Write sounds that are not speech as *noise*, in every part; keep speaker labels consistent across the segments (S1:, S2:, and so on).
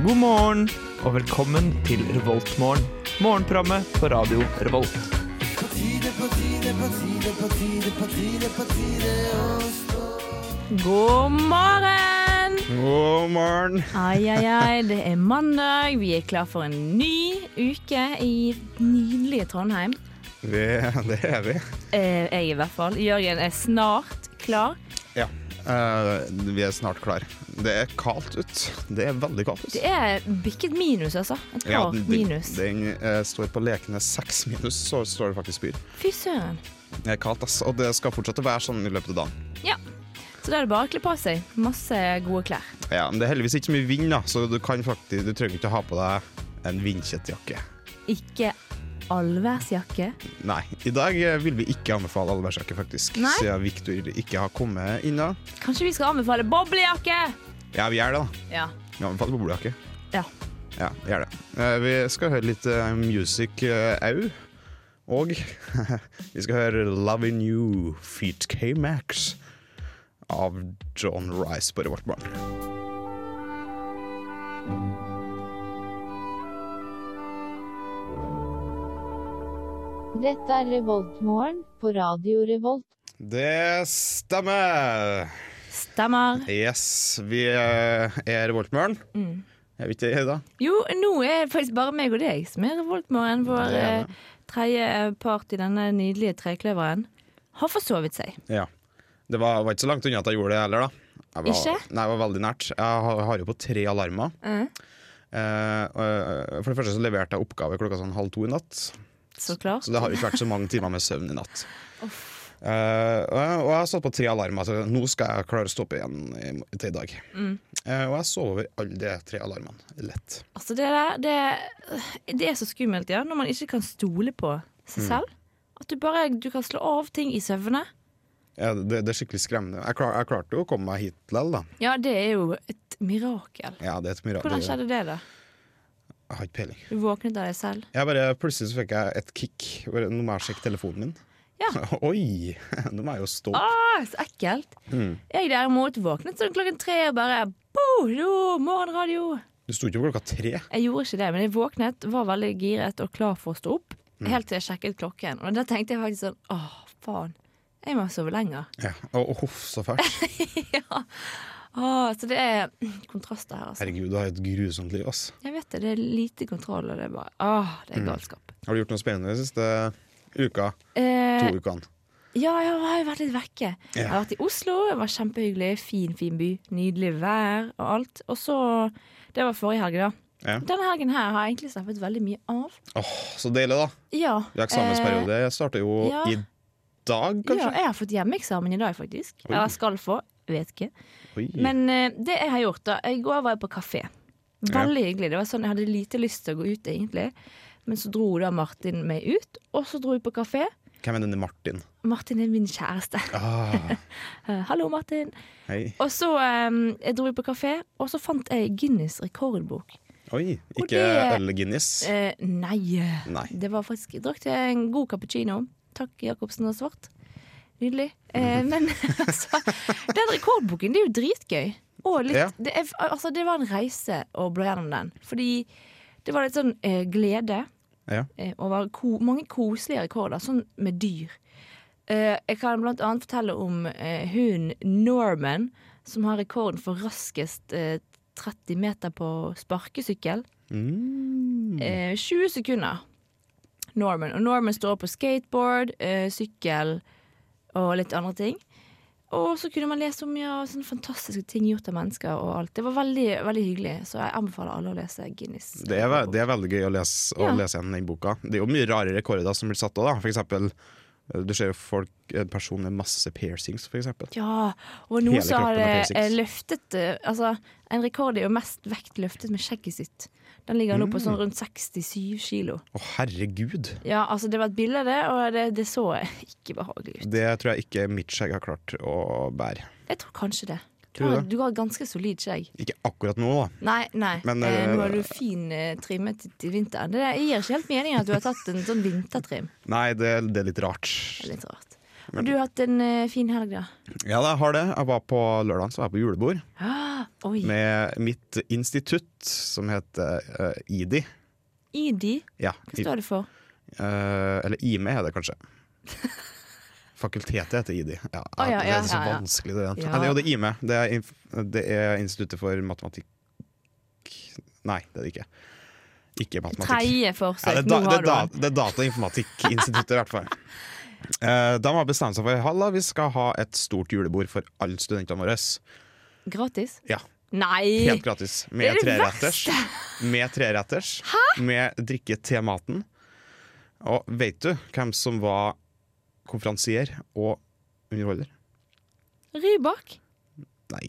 S1: morgen, og velkommen til Revoltmorgen. Morgenprogrammet på radio Revolt.
S2: God morgen!
S3: God morgen.
S2: Ai, ai, ai. Det er mandag. Vi er klar for en ny uke i nydelige Trondheim.
S3: Vi, *laughs* det er vi.
S2: Eh, jeg i hvert fall. Jørgen er snart klar.
S3: Ja. Eh, vi er snart klar. Det er kaldt ut. Det er veldig kaldt ut.
S2: Det er bikket minus, altså. Et
S3: Ja,
S2: klart
S3: den-
S2: minus.
S3: Den, den eh, står på lekene seks minus, så står det faktisk byr.
S2: Fy søren.
S3: Det er kaldt, ass. Og det skal fortsette å være sånn i løpet av dagen.
S2: Ja. Så da er det bare å kle på seg. Masse gode klær.
S3: Ja, men det er heldigvis ikke så mye vind, da, så du, kan faktisk, du trenger ikke å ha på deg en vindkjettjakke.
S2: Ikke allværsjakke.
S3: Nei, i dag eh, vil vi ikke anbefale allværsjakke, faktisk.
S2: Nei.
S3: Siden Victor ikke har kommet ennå.
S2: Kanskje vi skal anbefale boblejakke?
S3: Ja, vi gjør det, da.
S2: Ja.
S3: Vi anbefaler boblejakke.
S2: ja.
S3: Ja, vi gjør det. Eh, Vi skal høre litt eh, music eh, au. Og *laughs* vi skal høre 'Lovin' You Feet K-Max av John Rice på Revolt Barn.
S4: Dette er Revoltmorgen på Radio Revolt.
S3: Det stemmer!
S2: Stemmer.
S3: Yes, vi eh, er Revoltmøren. Er vi ikke det, da?
S2: Jo, nå er det faktisk bare meg og deg som er Revoltmorgen. Vår
S3: Det er det.
S2: eh, tredje part i denne nydelige trekløveren har forsovet seg.
S3: Ja. Det var, var ikke så langt unna at jeg gjorde det heller, da. Jeg var,
S2: Ikke?
S3: Nei, det var veldig nært. Jeg har, har jo på tre alarmer. Eh, og, eh, for det første så leverte jeg oppgave klokka sånn halv to i natt.
S2: Så klart.
S3: Så det har jo ikke vært så mange timer med søvn i natt. Eh, og jeg- og jeg har stått på tre alarmer, så nå skal jeg klare å stå opp igjen i mo- til i dag.
S2: Mm.
S3: Eh, og jeg sov over alle de tre alarmene lett.
S2: Altså, det der det, det er så skummelt, ja. Når man ikke kan stole på
S3: Mm.
S2: seg selv. At du bare du kan slå av ting i søvne.
S3: Ja, det, det er skikkelig skremmende. Jeg, klar, jeg klarte jo å komme meg hit likevel, da.
S2: Ja, det er jo et mirakel.
S3: Ja, det er et mirakel.
S2: Hvordan
S3: Jeg
S2: skjedde det, da?
S3: har ikke peiling.
S2: Du våknet av deg selv?
S3: Jeg bare, plutselig så fikk jeg et kick. Bare, Nå må jeg sjekke telefonen min.
S2: Ja.
S3: *laughs* Oi! Nå må jeg jo stå opp.
S2: Ah, så ekkelt.
S3: Mm.
S2: Jeg derimot våknet sånn klokken tre og bare Boom! jo, Morgenradio!
S3: Du sto ikke opp klokka tre.
S2: Jeg gjorde ikke det, men jeg våknet, var veldig giret og klar for å stå opp.
S3: Mm.
S2: Helt til jeg sjekket klokken. Og da tenkte jeg faktisk sånn Åh, faen. Jeg må sove lenger.
S3: Ja. Og og huff, så
S2: *laughs*
S3: fælt.
S2: Åh, så det er *clears throat* kontraster her, altså.
S3: Herregud, du har et grusomt liv, ass.
S2: Jeg vet det, det er lite kontroll, og det er bare Åh, det
S3: Mm.
S2: er galskap.
S3: Har du gjort noe spennende den siste uka?
S2: Eh,
S3: To ukene?
S2: ja, jeg har jo vært litt vekke. Jeg har vært i Oslo, det var kjempehyggelig. Fin, fin by. Nydelig vær og alt. Og så Det var forrige helg, da.
S3: Ja.
S2: Denne helgen her har jeg egentlig slappet veldig mye av. Eh,
S3: Åh, så deilig, da.
S2: Ja.
S3: Vi har eksamensperiode. Jeg starter jo
S2: ja.
S3: i dag,
S2: Ja,
S3: kanskje?
S2: jeg har fått hjemmeeksamen i dag, faktisk.
S3: Oi.
S2: Eller skal få. Vet ikke.
S3: Oi.
S2: Men eh, det jeg har gjort, da I går var jeg på kafé. Veldig hyggelig. Det var sånn, Jeg hadde lite lyst til å gå ut, egentlig. Men så dro da Martin meg ut, og så dro vi på kafé.
S3: Hvem er denne Martin?
S2: Martin er min kjæreste.
S3: Ah,
S2: Eh, Hallo, Martin.
S3: hei.
S2: Og så eh, jeg dro vi på kafé, og så fant jeg Guinness rekordbok.
S3: Oi,
S2: *laughs* Og
S3: ikke
S2: det-
S3: øl Guinness.
S2: Eh, nei.
S3: Nei.
S2: Det var faktisk Jeg drakk til en god cappuccino. Takk, Jacobsen og Svart. Nydelig. Eh,
S3: Mhm.
S2: men *laughs* altså Den rekordboken, det er jo dritgøy. Og litt
S3: Ja.
S2: det, er, altså, det var en reise å bla gjennom den. Fordi det var litt sånn eh, glede
S3: Ja.
S2: eh, over ko mange koselige rekorder, sånn med dyr. Eh, jeg kan blant annet fortelle om eh, hunden Norman, som har rekorden for raskest eh, 30 meter på sparkesykkel.
S3: Mm.
S2: Eh, 20 sekunder. Norman. Og Norman står på skateboard, eh, sykkel og litt andre ting. Og så kunne man lese om ja, sånne fantastiske ting gjort av mennesker og alt. Det var veldig, veldig hyggelig, så jeg anbefaler alle å lese Guinness.
S3: Det er, ve- det er veldig gøy å lese, å
S2: Ja.
S3: lese igjen den boka. Det er jo mye rare rekorder som blir satt òg, da. For eksempel, eh, du ser jo folk, en person med masse piercings, for eksempel.
S2: Ja, og noen
S3: Hele
S2: som
S3: kroppen
S2: har
S3: er
S2: eh,
S3: piercings.
S2: løftet eh, Altså, en rekord er jo mest vekt løftet med skjegget sitt. Den ligger nå på
S3: Mm.
S2: sånn rundt 67 kilo.
S3: Å, herregud!
S2: Ja, altså, det var et bilde av det, og det, det så ikke behagelig ut.
S3: Det tror jeg ikke mitt skjegg har klart å bære.
S2: Jeg tror kanskje det. Du
S3: Tror du
S2: har,
S3: det?
S2: du har ganske solid skjegg.
S3: Ikke akkurat nå, da.
S2: Nei, nei.
S3: Men,
S2: eh,
S3: eh,
S2: nå er du fin eh, trimmet til- til
S3: *laughs*
S2: vinteren. Det der gir ikke helt mening at du har tatt en sånn vintertrim.
S3: Nei, det, det er litt rart.
S2: Det er litt rart. Og du har hatt en eh, fin helg, da?
S3: Ja, da, jeg har det. Jeg var på lørdagen, så var jeg på julebord
S2: Ah, *gasps* oi.
S3: med mitt institutt, som heter eh, IDI.
S2: ID?
S3: Ja,
S2: Hva står det for?
S3: Eh, eller IME er
S2: *laughs*
S3: det kanskje. Fakultetet heter IDI. Ja,
S2: Å, ja,
S3: det
S2: ja,
S3: er så
S2: ja, ja.
S3: vanskelig, det.
S2: Ja.
S3: Nei, det er jo det IME. Det er, inf- det er Instituttet for matematikk Nei, det er det ikke. Ikke matematikk.
S2: Tredje
S3: Ja,
S2: forsøk.
S3: det, er da,
S2: Nå
S3: det,
S2: har
S3: er
S2: du
S3: da,
S2: den.
S3: det er Datainformatikkinstituttet, i hvert
S2: *laughs*
S3: fall. Eh, de har bestemt seg for Halla, vi skal ha et stort julebord for alle studentene våre.
S2: Gratis?
S3: Ja,
S2: Nei!
S3: Helt gratis.
S2: Det
S3: Med
S2: er det
S3: treretters. Med treretters. Med drikke til maten. Og vet du hvem som var konferansier og underholder?
S2: Rybak?
S3: Nei,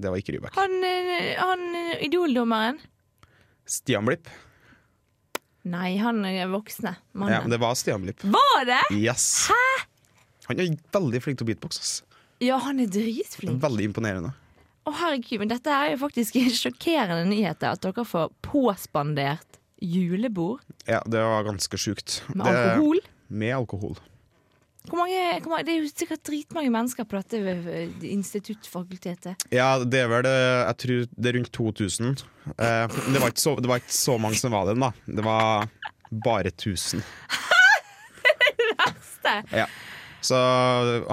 S3: det var ikke Rybak.
S2: Han, eh, han eh, idoldommeren?
S3: Stian Blipp.
S2: Nei, han er voksne.
S3: Ja,
S2: Mannen.
S3: det var Stian Blipp.
S2: Var det?!
S3: Yes. Han er veldig flink til å beatboxe. ass.
S2: Ja, han er dritflink.
S3: Veldig imponerende.
S2: Å, herregud, men dette er jo faktisk *laughs* sjokkerende nyheter. At dere får påspandert julebord
S3: Ja, det var ganske sjukt.
S2: med
S3: Det-
S2: alkohol.
S3: Med alkohol.
S2: Hvor mange, hvor mange, det er jo sikkert dritmange mennesker på dette eh, instituttfakultetet.
S3: Ja, det er vel det, jeg tror det er rundt 2000. Eh, det, var ikke så, det var ikke så mange som var den, da. Det var bare 1000.
S2: Ste-
S3: Ja. Så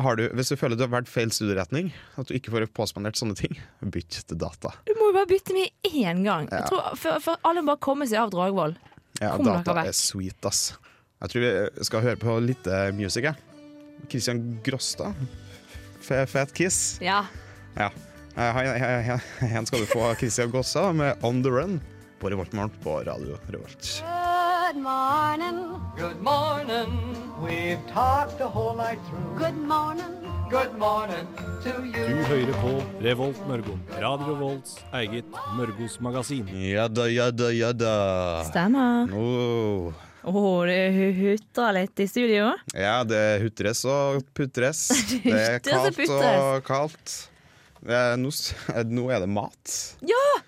S3: har du, hvis du føler du har valgt feil studieretning, at du ikke får påspandert sånne ting, bytt til data.
S2: Du må jo bare bytte med én gang. Jeg tror, for, for alle må bare komme seg av Dragvoll.
S3: Ja,
S2: Kom dere
S3: data
S2: vekk.
S3: er sweet, ass. Jeg tror vi skal høre på litt eh, music, jeg. Christian Gråstad. Fe- Fat Kiss.
S2: Ja.
S3: Ja. Eh, han- han- han- Han skal du få Christian Gråstad med On The Run på Revoltmorgen på Radio Revolt.
S5: Good morning.
S6: Good morning. We've talked the whole night through.
S5: Good morning.
S6: Good morning to
S7: Du
S6: you.
S7: hører på Revolt Mørgo. Radio Revolts eget Mørgos magasin.
S3: Jadda, jadda, jadda.
S2: Stemmer.
S3: Oh.
S2: Å, det hutrer litt i studio.
S3: Ja, det hutres og
S2: *laughs*
S3: putres. Det er
S2: hutres og
S3: kaldt og kaldt. Det er, nå, s- *laughs* eh, nå er det mat.
S2: Ja!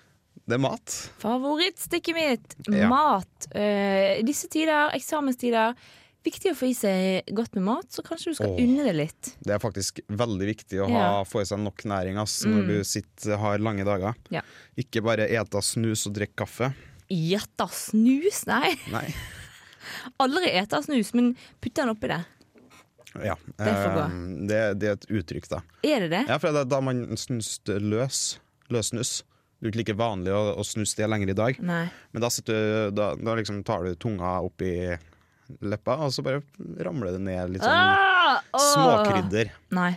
S3: Det er mat.
S2: Favorittstikket mitt.
S3: Ja.
S2: Mat. Eh, I disse tider, eksamenstider, viktig å få i seg godt med mat, så kanskje du skal
S3: Åh.
S2: unne det litt.
S3: Det er faktisk veldig viktig å ha,
S2: Ja. Mm.
S3: få i seg nok næring ass, når du sitter, har lange dager.
S2: Ja.
S3: Ikke bare ete snus og drikke kaffe.
S2: Gjetta snus? Nei,
S3: Nei.
S2: aldri ete snus, men putte den oppi det.
S3: Ja.
S2: er for bra.
S3: eh, det, det er et uttrykk, da.
S2: Er det det?
S3: Ja, for det er da man snuste løs. Løssnus. Det er jo ikke like vanlig å, å snuse det lenger i dag.
S2: Nei.
S3: Men da, sitter du, da, da liksom tar du tunga opp i leppa, og så bare ramler det ned litt sånn
S2: Ah, åh.
S3: småkrydder.
S2: Nei.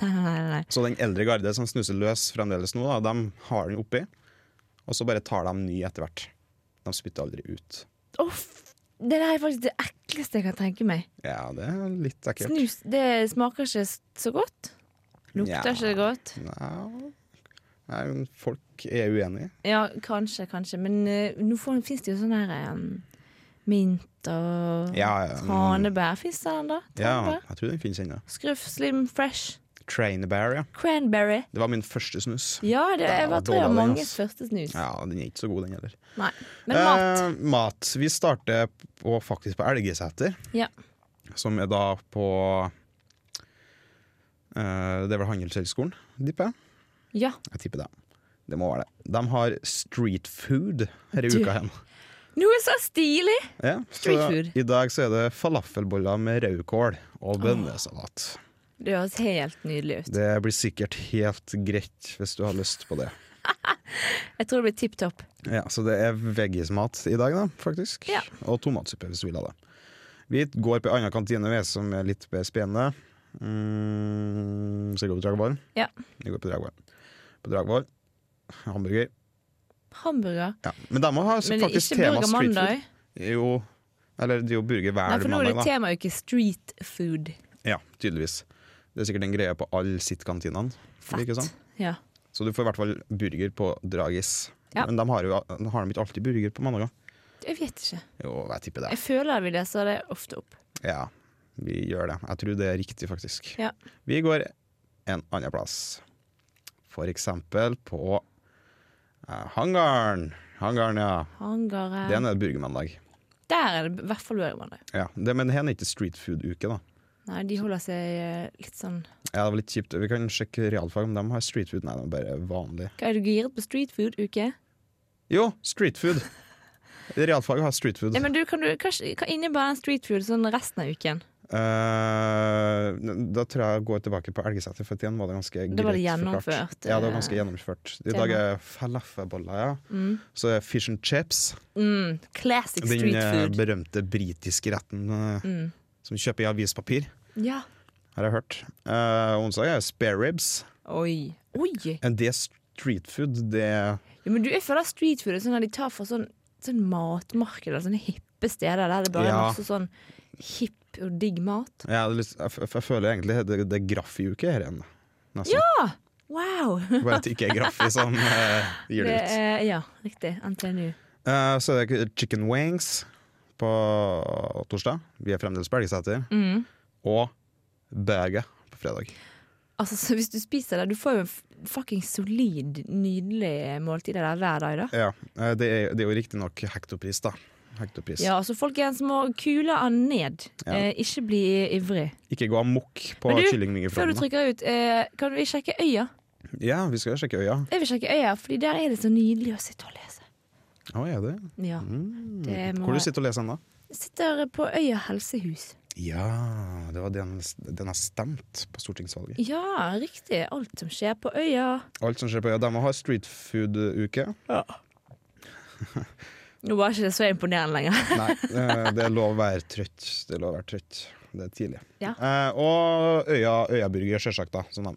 S2: Nei, nei, nei, nei.
S3: Så den eldre garde som snuser løs fremdeles nå, da, de har den oppi, og så bare tar de ny etter hvert. De spytter aldri ut.
S2: Åh, f- det der er faktisk det ekleste jeg kan tenke meg.
S3: Ja, det er litt ekkelt.
S2: Snus det smaker ikke s- så godt. Lukter
S3: Ja.
S2: ikke godt.
S3: Nei, nei, men folk er uenige.
S2: Ja, kanskje, kanskje. Men eh, nå fins det jo sånn her em, mint og
S3: Ja, ja, mm.
S2: tranebær. Fins det den, da?
S3: Ja,
S2: Tranebær?
S3: jeg tror den finnes ennå.
S2: Skruff, slim, fresh.
S3: Trainerbear, ja.
S2: Cranberry.
S3: Det var min første snus.
S2: Ja, det
S3: Ja,
S2: jeg var tre av
S3: dårlig,
S2: manges
S3: ass.
S2: første snus.
S3: Ja, den er ikke så god, den heller.
S2: Nei. Men mat.
S3: Eh, mat. Vi starter på, faktisk på Elgeseter.
S2: Ja.
S3: Som er da på eh, Det er vel Handelshøyskolen, tipper jeg?
S2: ja.
S3: Jeg tipper det. Det må være det. De har street food her i
S2: Du-
S3: uka igjen.
S2: Noe så stilig!
S3: Ja, så
S2: Street food.
S3: I dag så er det falafelboller med rødkål og bønnesalat.
S2: Det høres helt nydelig ut.
S3: Det blir sikkert helt greit hvis du har lyst på det.
S2: Jeg tror det blir tipp topp.
S3: Ja, Så det er veggismat i dag, da, faktisk.
S2: Ja.
S3: Og tomatsuppe, hvis du vil ha det. Vi går på en annen kantine vi, som er litt mer spennende. Mm, skal vi gå på Dragvoll?
S2: Ja.
S3: Vi går på Dragvoll. På Dragvoll. Hamburger.
S2: Hamburger.
S3: Ja. Men de må ha
S2: Men det er
S3: faktisk
S2: ikke
S3: tema
S2: burger
S3: street
S2: mandag.
S3: food. Jo, eller det er jo
S2: Nei,
S3: burger hver
S2: for nå er det
S3: mandag, da.
S2: temauke street food.
S3: Ja, tydeligvis. Det er sikkert en greie på alle sitt-kantinene. Ikke sant?
S2: Ja.
S3: Så du får i hvert fall burger på Dragis.
S2: Ja.
S3: Men de har, jo, har de ikke alltid burger på mandager?
S2: Jeg vet ikke.
S3: Jo, jeg tipper det.
S2: Jeg føler vi leser det ofte opp.
S3: Ja, vi gjør det. Jeg tror det er riktig, faktisk.
S2: Ja.
S3: Vi går en annen plass. For eksempel på eh, Hangaren. Hangaren, ja.
S2: eh.
S3: Det er
S2: Hangaren
S3: en burgermandag.
S2: Der er det i hvert fall burgermandag.
S3: Ja. Det, men det her er ikke street food-uke, da.
S2: Nei, de holder seg eh, litt sånn
S3: Ja, det var litt kjipt. Vi kan sjekke realfag om de har street food. Nei, det er bare vanlig.
S2: Hva er du giret på street food-uke?
S3: Jo, street food! Realfaget har street food.
S2: Ja, men du, kan du, hva, hva innebærer en street food sånn resten av uken?
S3: Eh, da tror jeg jeg går tilbake på Elgeseter, for igjen var det ganske greit
S2: Da var det
S3: forklart.
S2: gjennomført,
S3: Ja, det var
S2: eh,
S3: ganske gjennomført. I
S2: tema.
S3: dag er falafelboller, ja. Så er fish and chips.
S2: Mm, classic
S3: Den
S2: street
S3: eh,
S2: food. Mm.
S3: berømte britiske retten eh, som kjøper i avispapir,
S2: Ja.
S3: har jeg hørt. Eh, onsdag er spare ribs.
S2: Oi. Oi!
S3: En det er street food, det
S2: Ja, men du, jeg føler street food er sånn at de tar fra sånn, sånn matmarked eller sånne hippe steder der det bare er
S3: Ja.
S2: masse sånn hipp og digg mat.
S3: ja, det er litt- jeg, f- jeg føler egentlig det, det er graffiuke her igjen. Nesten.
S2: Wow!
S3: Bare at det ikke er graffi
S2: *laughs*
S3: som eh, gir
S2: Det
S3: det ut.
S2: er, ja, riktig. NTNU.
S3: Eh, så er det chicken wings på torsdag. Vi er fremdeles på Elgeseter.
S2: Mm.
S3: Og burger på fredag.
S2: Altså, så Hvis du spiser det Du får jo en f- fucking solid, nydelig måltid av det hver dag. da
S3: Ja, eh, det, er, det er jo riktignok hektopris, da. Hektopris.
S2: Ja, altså Folkens, må kule han ned.
S3: Ja.
S2: Eh, ikke bli ivrig.
S3: Ikke gå amok på
S2: Men du, Før du
S3: kyllingvingeflåten.
S2: trykker ut, eh, kan vi sjekke øya?
S3: Ja, vi skal sjekke øya.
S2: Jeg vil sjekke øya, fordi der er det så nydelig å sitte og lese.
S3: Å, er det?
S2: Ja, det må
S3: Hvor du sitter og leser ennå?
S2: Jeg sitter på Øya helsehus.
S3: Ja, det var den, den har stemt på stortingsvalget.
S2: Ja, riktig. Alt som skjer på øya.
S3: Alt som skjer på øya. De har street food-uke.
S2: Nå var ikke det så imponerende lenger. *laughs*
S3: Nei, eh, det er lov å være trøtt. Det er lov å være trøtt. Det er tidlig.
S2: Ja.
S3: Eh, og øya, øyaburger, sjølsagt, da. Som de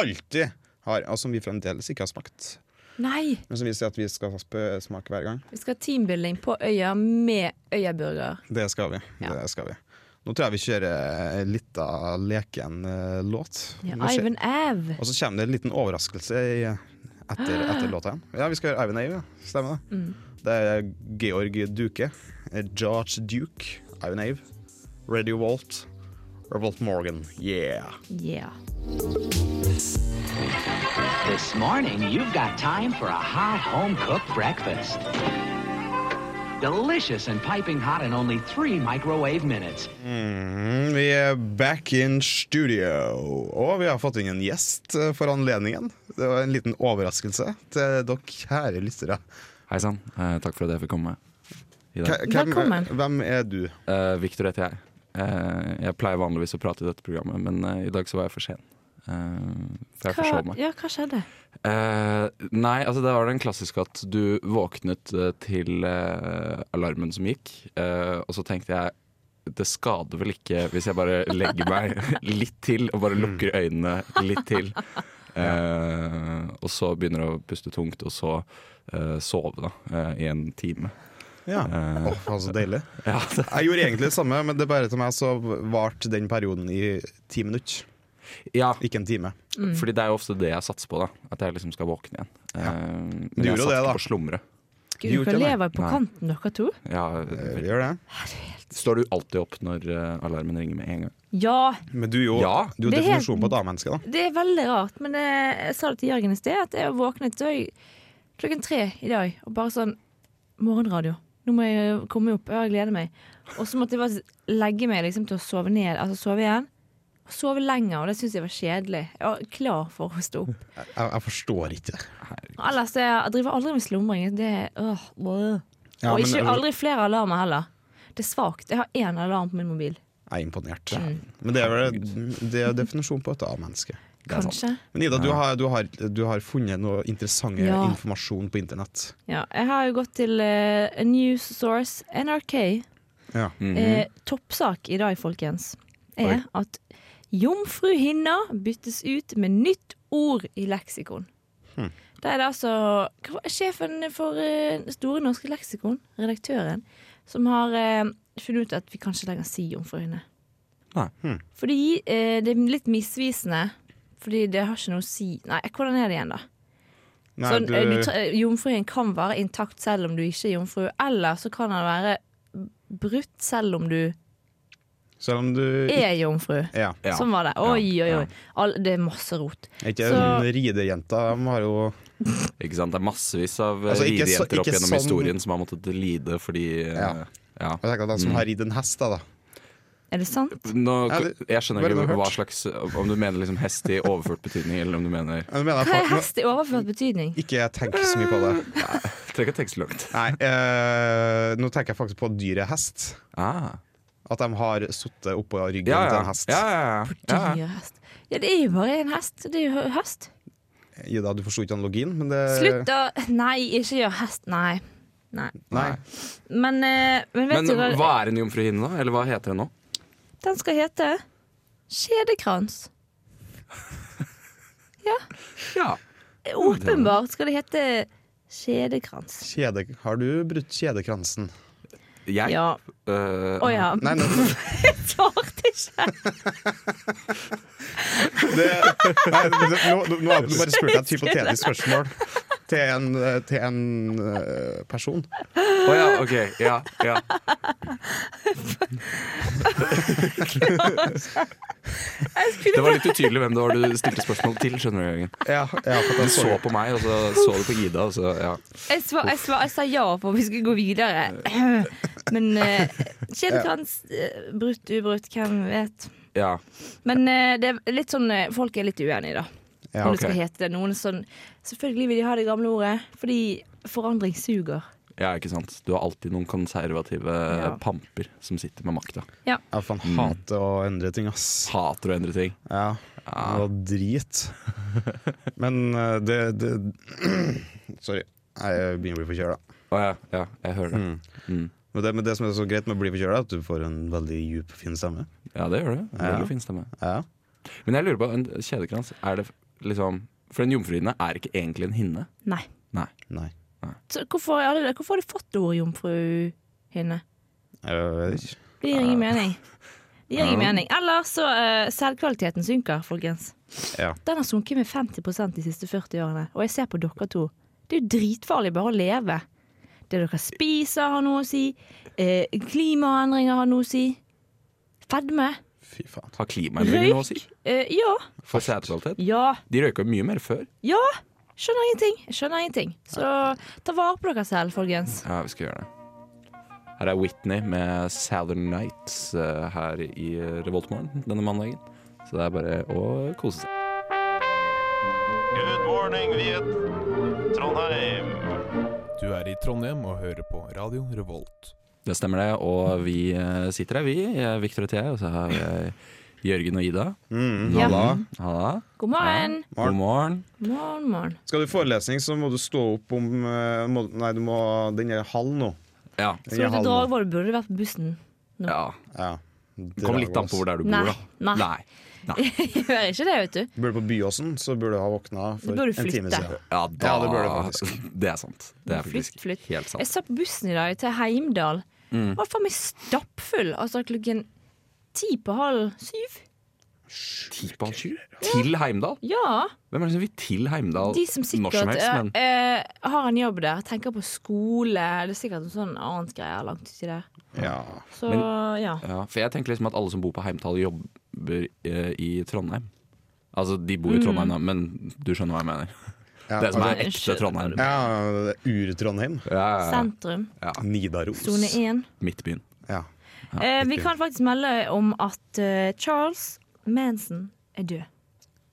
S3: alltid har, og som vi fremdeles ikke har smakt.
S2: Nei!
S3: Men som vi sier at vi skal sp- smake hver gang.
S2: Vi skal ha teambuilding på øya med øyaburger.
S3: Det skal vi.
S2: Ja.
S3: Det skal vi. Nå tror jeg vi kjører en lita leken eh, låt.
S2: Ja,
S3: Nå skjer-
S2: Ivan Av.
S3: Og så kommer det en liten overraskelse i, etter, etter låta igjen. Ja, vi skal høre Ivan Ave, ja. stemmer det? Det er Georg Duke, Eh, George Duke, Ivan Ave, Radio Walt, Revolt Morgan, yeah.
S2: Yeah.
S8: This morning, you've got time for a hot home cooked breakfast. Delicious and piping hot in only three microwave minutes.
S3: Mm, vi er back in studio, og vi har fått inn en gjest eh, for anledningen. Det var en liten overraskelse til dere kjære lyttere.
S9: Hei sann, eh, takk for at jeg fikk komme. I dag.
S3: Hva- hvem-
S2: Velkommen.
S3: Hvem er du?
S9: Eh, Victor heter jeg. Eh, jeg pleier vanligvis å prate i dette programmet, men eh, i dag så var jeg for sen. Eh,
S2: Hva,
S9: for jeg forsov meg.
S2: ja, hva skjedde?
S9: Eh, nei, altså det var den klassiske at du våknet eh, til eh, alarmen som gikk, eh, og så tenkte jeg det skader vel ikke hvis jeg bare legger meg *laughs* litt til og bare lukker øynene litt til. Eh, og så begynner jeg å puste tungt, og så eh, sove da, eh, i en time.
S3: Ja, Åh, faen, så deilig.
S9: Eh, *laughs* Ja, det
S3: Jeg gjorde egentlig det samme, men det er bare til meg så varte den perioden i ti minutter.
S9: Ja,
S3: Ikke en time.
S9: fordi det er jo ofte det jeg satser på, da. At jeg liksom skal våkne igjen. Eh, Men
S3: Du
S9: jeg
S3: gjorde
S9: satser
S3: det, da.
S9: ikke på å slumre.
S2: Gud,
S3: gjorde
S2: dere
S3: det.
S2: lever på
S9: Nei.
S2: kanten, dere to.
S9: Ja, eh,
S3: Vi gjør det.
S9: står du alltid opp når eh, alarmen ringer med en gang?
S2: Ja,
S3: Men du er jo,
S9: Ja.
S3: du
S2: Det er
S3: er jo
S2: helt-
S3: definisjonen på et A-menneske, da.
S2: det er veldig rart, men eh, jeg sa det til Jørgen i sted, at jeg våknet da jeg, klokken tre i dag, og bare sånn Morgenradio. Nå må jeg komme opp, ja, jeg gleder meg. Og så måtte jeg bare legge meg liksom, til å sove ned, altså sove igjen. Og sove lenger, og det syns jeg var kjedelig. Jeg var klar for å stå opp.
S3: Jeg, jeg forstår ikke det.
S2: Ellers jeg, jeg driver aldri med slumring. Det er øh, øh.
S3: Ja,
S2: Og
S3: men- altså-
S2: ikke aldri flere alarmer heller. Det er svakt. Jeg har én alarm på min mobil.
S3: Jeg er imponert.
S2: Mm.
S3: Men det er vel det er definisjonen på et A-menneske.
S9: er sant.
S2: Kanskje.
S3: Men Ida, du har, du har, du har funnet noe interessant
S2: Ja.
S3: informasjon på internett.
S2: Ja, jeg har jo gått til eh, a news source, NRK.
S3: Ja.
S2: Eh, toppsak i dag, folkens, er at jomfruhinna byttes ut med nytt ord i leksikon. Da er det altså hva var- sjefen for eh, Store norske leksikon, redaktøren, som har eh, funnet ut at vi kanskje lenger sier jomfruhinne.
S9: Nei.
S2: Fordi eh, det er litt misvisende. Fordi det har ikke noe å si Nei, hvordan er det igjen, da?
S3: Nei,
S2: sånn,
S3: du,
S2: eh, du, tre- Jomfruen kan være intakt selv om du ikke er jomfru, eller så kan den være brutt selv om du
S3: selv om du
S2: er jomfru.
S3: ja.
S9: Ja.
S2: Sånn var det. Oi, oi,
S9: Ja.
S2: oi. All, det er masse rot.
S3: Er Ikke
S2: Så-
S3: en ridejenta. De har jo
S9: Ikke sant? Det er massevis av eh,
S3: Altså, ikke så-
S9: ridejenter opp
S3: ikke
S9: gjennom
S3: sånn-
S9: historien som har måttet lide fordi eh,
S3: Ja.
S9: ja.
S3: Jeg tenker at de som har ridd en hest, da. da.
S2: Er det sant?
S9: Nå,
S3: Ja, det-
S9: jeg skjønner
S3: bare
S9: ikke
S3: det jeg har
S9: hva
S3: hørt.
S9: slags Om du mener liksom hest i overført betydning, eller om du mener
S3: Ja, det mener jeg
S2: Hva er
S3: faktisk-
S2: hest i overført betydning?
S3: Ikke jeg tenker så mye på det.
S9: Trenger ikke å tenke så langt.
S3: Nei, eh, Nå tenker jeg faktisk på dyret hest.
S9: Ah.
S3: At de har sittet oppå ryggen
S9: Ja,
S3: til
S9: ja.
S3: en hest.
S9: ja, ja, ja. ja.
S2: Dyrehest. Ja, det er jo bare en hest. Det er jo hest.
S3: Ida, du forsto ikke analogien, men det
S2: Slutt å Nei, ikke gjør hest. Nei. Nei.
S3: Nei.
S2: Men, eh, men vet
S9: Men
S2: du hva
S9: hva er en jomfruhinne, da? Eller hva heter den nå?
S2: den skal hete? Skjedekrans.
S9: Ja.
S2: Åpenbart skal det hete skjedekrans.
S3: Kjede, har du brutt kjedekransen?
S9: Jeg?
S2: Ja.
S9: Øh,
S2: Å ja.
S3: Nei, men
S2: *laughs* Svarte ikke.
S3: det, *laughs* nei, det, nå, nå, nå har du bare spurt deg et hypotetisk spørsmål til en, eh, til en eh, person.
S9: Å ja, ok. Ja, ja. Det var litt utydelig hvem det var du stilte spørsmål til. skjønner du Jørgen.
S3: Ja, ja, for
S9: Du
S3: den
S9: så
S3: så
S9: på meg, og så så du på Ida. Og så, ja.
S2: Jeg, svar, jeg, svar, jeg sa ja for vi skulle gå videre. *clears throat* Men eh, skjedekrans, eh, brutt, ubrutt, hvem vet.
S9: ja.
S2: Men eh, det er litt sånn eh, folk er litt uenige, da.
S3: Ja,
S2: Om
S9: ok.
S2: det skal hete det. Noen er sånn Selvfølgelig vil de ha det gamle ordet, fordi forandring suger.
S9: ja, ikke sant. Du har alltid noen konservative
S2: Ja.
S9: pamper som sitter med makta.
S3: Jeg faen hater å endre ting, ass.
S9: Hater å endre ting.
S3: Mm. Ja, det var drit. Men eh, det, det *clears throat* Sorry, jeg begynner å bli forkjøla.
S9: Å ja, ja, jeg hører det. Mm.
S3: Men det, men det som er så greit med å bli forkjøla, er at du får en veldig djup, fin stemme.
S9: Ja, det gjør det.
S3: Ja.
S9: Veldig fin stemme.
S3: Ja.
S9: Men jeg lurer på, en kjedekrans, er det liksom For en jomfruhinne er ikke egentlig en hinne.
S2: Nei.
S9: Nei.
S3: Nei.
S2: Så hvorfor, er alle det? hvorfor har de fått ordet jomfruhinne?
S3: Jeg vet ikke.
S2: Det gir ingen mening. Det gir ingen mening. Eller så eh, selvkvaliteten synker, folkens.
S3: Ja.
S2: Den har sunket med 50 de siste 40 årene. Og jeg ser på dere to. Det er jo dritfarlig bare å leve. Det dere spiser har noe å si. Eh, klimaendringer har noe å si. Fedme.
S3: Fy faen.
S9: Har klimaendringer noe å si
S2: Røyk. Eh, ja.
S9: for sædkvalitet?
S2: Ja.
S9: De røyka jo mye mer før.
S2: Ja. Skjønner ingenting. Skjønner ingenting. Så ta vare på dere selv, folkens.
S9: Ja, vi skal gjøre det. Her er Whitney med Southern Nights eh, her i Revoltmorgen denne mandagen. Så det er bare å kose seg.
S10: Good morning, Viet. Trondheim.
S11: Du er i Trondheim og hører på Radio Revolt.
S9: Det stemmer det, og vi eh, sitter her, vi. eh, Victor og jeg, og så har vi eh, Jørgen og Ida.
S3: Mm.
S2: Ja.
S3: Halla.
S9: Halla.
S2: God morgen.
S9: God morgen.
S2: Morgen, morgen.
S3: Skal du forelesning, så må du stå opp om eh, må, Nei, du må Den er halv nå.
S9: Ja.
S3: Den
S2: Så du
S3: er
S2: til
S3: halv nå.
S2: Dragvoll burde du vært på bussen.
S9: ja.
S3: Ja.
S9: Det kommer litt an på hvor der du bor,
S2: Nei.
S9: da.
S2: Nei. *laughs*
S9: Nei.
S2: Gjør ikke det, vet du.
S3: Bor du på Byåsen, så burde du ha våkna
S2: Da
S3: for
S2: burde
S3: en
S2: du
S3: time
S2: flytte.
S3: siden.
S9: Ja, da,
S3: Ja, det burde du faktisk.
S9: *laughs* Det er sant. Det er
S2: Flytt,
S9: faktisk
S2: flytt.
S9: helt
S2: Jeg
S9: sant.
S2: satt på bussen i dag til Heimdal.
S9: Mm.
S2: Var faen meg stappfull. Altså klokken ti på halv syv.
S9: Ti på halv sju? Til Heimdal?
S2: Ja.
S9: Hvem er det som vil til Heimdal
S2: De som
S9: når som
S2: sikkert
S9: helst? Men
S2: eh, eh, har en jobb der, tenker på skole. Det er sikkert en sånn annen greie langt uti der.
S3: Ja.
S2: Så ja.
S9: Ja, for jeg tenker liksom at alle som bor på Heimtall jobber eh, i Trondheim. Altså, de bor i
S2: Mm.
S9: Trondheim, da, men du skjønner hva jeg mener.
S3: Ja,
S9: Det som
S3: altså-
S9: er ekte Trondheim.
S3: ja, det er Ur-Trondheim.
S9: Ja, ja, ja.
S2: Sentrum.
S3: Nidaros.
S2: Sone én.
S9: Midtbyen.
S3: Ja.
S2: Eh, vi kan faktisk melde om at eh, Charles Manson er død.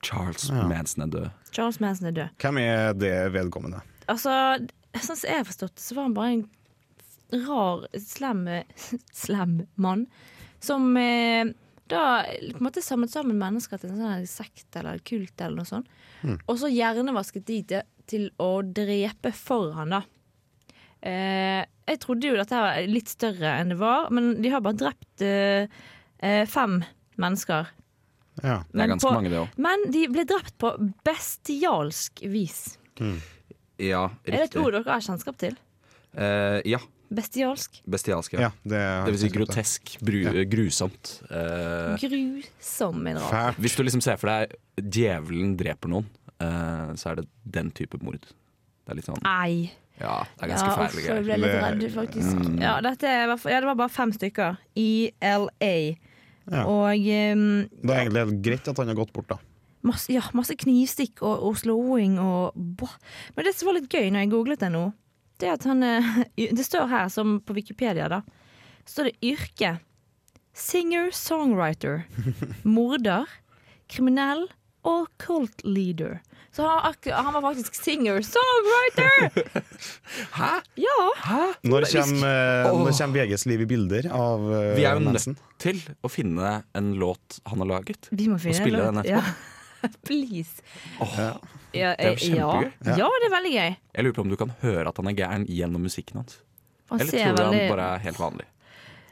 S9: Charles
S3: Ja.
S9: Manson er død.
S2: Charles Manson er død.
S3: Hvem er det vedkommende?
S2: Altså, sånn som jeg har forstått det, så var han bare en rar, slem, *laughs* slem mann som eh, da på en måte samlet sammen mennesker til en sånn her sekt eller kult eller noe sånt. Og så hjernevasket de til, til å drepe for han, da. Eh, jeg trodde jo dette var litt større enn det var, men de har bare drept eh, eh, fem mennesker.
S3: Ja.
S9: Det er
S2: Men
S9: ganske
S2: på-
S9: mange, det òg.
S2: Men de ble drept på bestialsk vis.
S9: Ja,
S2: Er det et
S9: riktig.
S2: ord dere har kjennskap til?
S9: Eh, ja,
S2: Bestialsk?
S9: bestialsk. Ja.
S3: ja det, er-
S9: Det vil si grotesk, bru, grusomt. Eh,
S2: Grusom mineral.
S3: Fælt.
S9: hvis du liksom ser for deg djevelen dreper noen, eh, så er det den type mord. Det er litt sånn
S2: Nei.
S9: Ja, det er
S2: Ah. Ja,
S9: ganske
S2: uff,
S9: fæle
S2: jeg
S9: greier. Mm.
S2: ble litt
S3: Det-
S2: redd, faktisk. Ja, dette er, i hvert fall- ja, det var bare fem stykker i LA.
S3: Ja.
S2: Og ehm,
S3: Det er egentlig helt greit at han har gått bort, da.
S2: masse, ja, masse knivstikk og, og slåing og bå- Men det som var litt gøy når jeg googlet det nå, *laughs* det er at han eh, Det står her, som på Wikipedia, da, står det yrke
S9: *laughs*
S2: Singer-songwriter. Morder. Kriminell. Og cult leader. Så han, var ak- han var faktisk singer-songwriter!
S9: Hæ?
S2: Ja!
S3: Når kommer, eh, når kommer VGs liv i bilder av eh,
S9: Vi er jo
S3: Nansen?
S9: nødt til å finne en låt han har laget.
S2: Vi må
S9: og
S2: finne
S9: spille
S2: en
S9: den
S2: låt.
S9: etterpå.
S2: Ja. *laughs* Please.
S9: Åh,
S2: Mm. Ja,
S9: Det er jo
S2: eh, ja.
S9: kjempegøy.
S2: ja, det er veldig gøy.
S9: Jeg lurer på om du kan høre at han er gæren gjennom musikken hans.
S2: Han
S9: Eller
S2: ser
S9: tror du
S2: veldig-
S9: han bare er helt vanlig?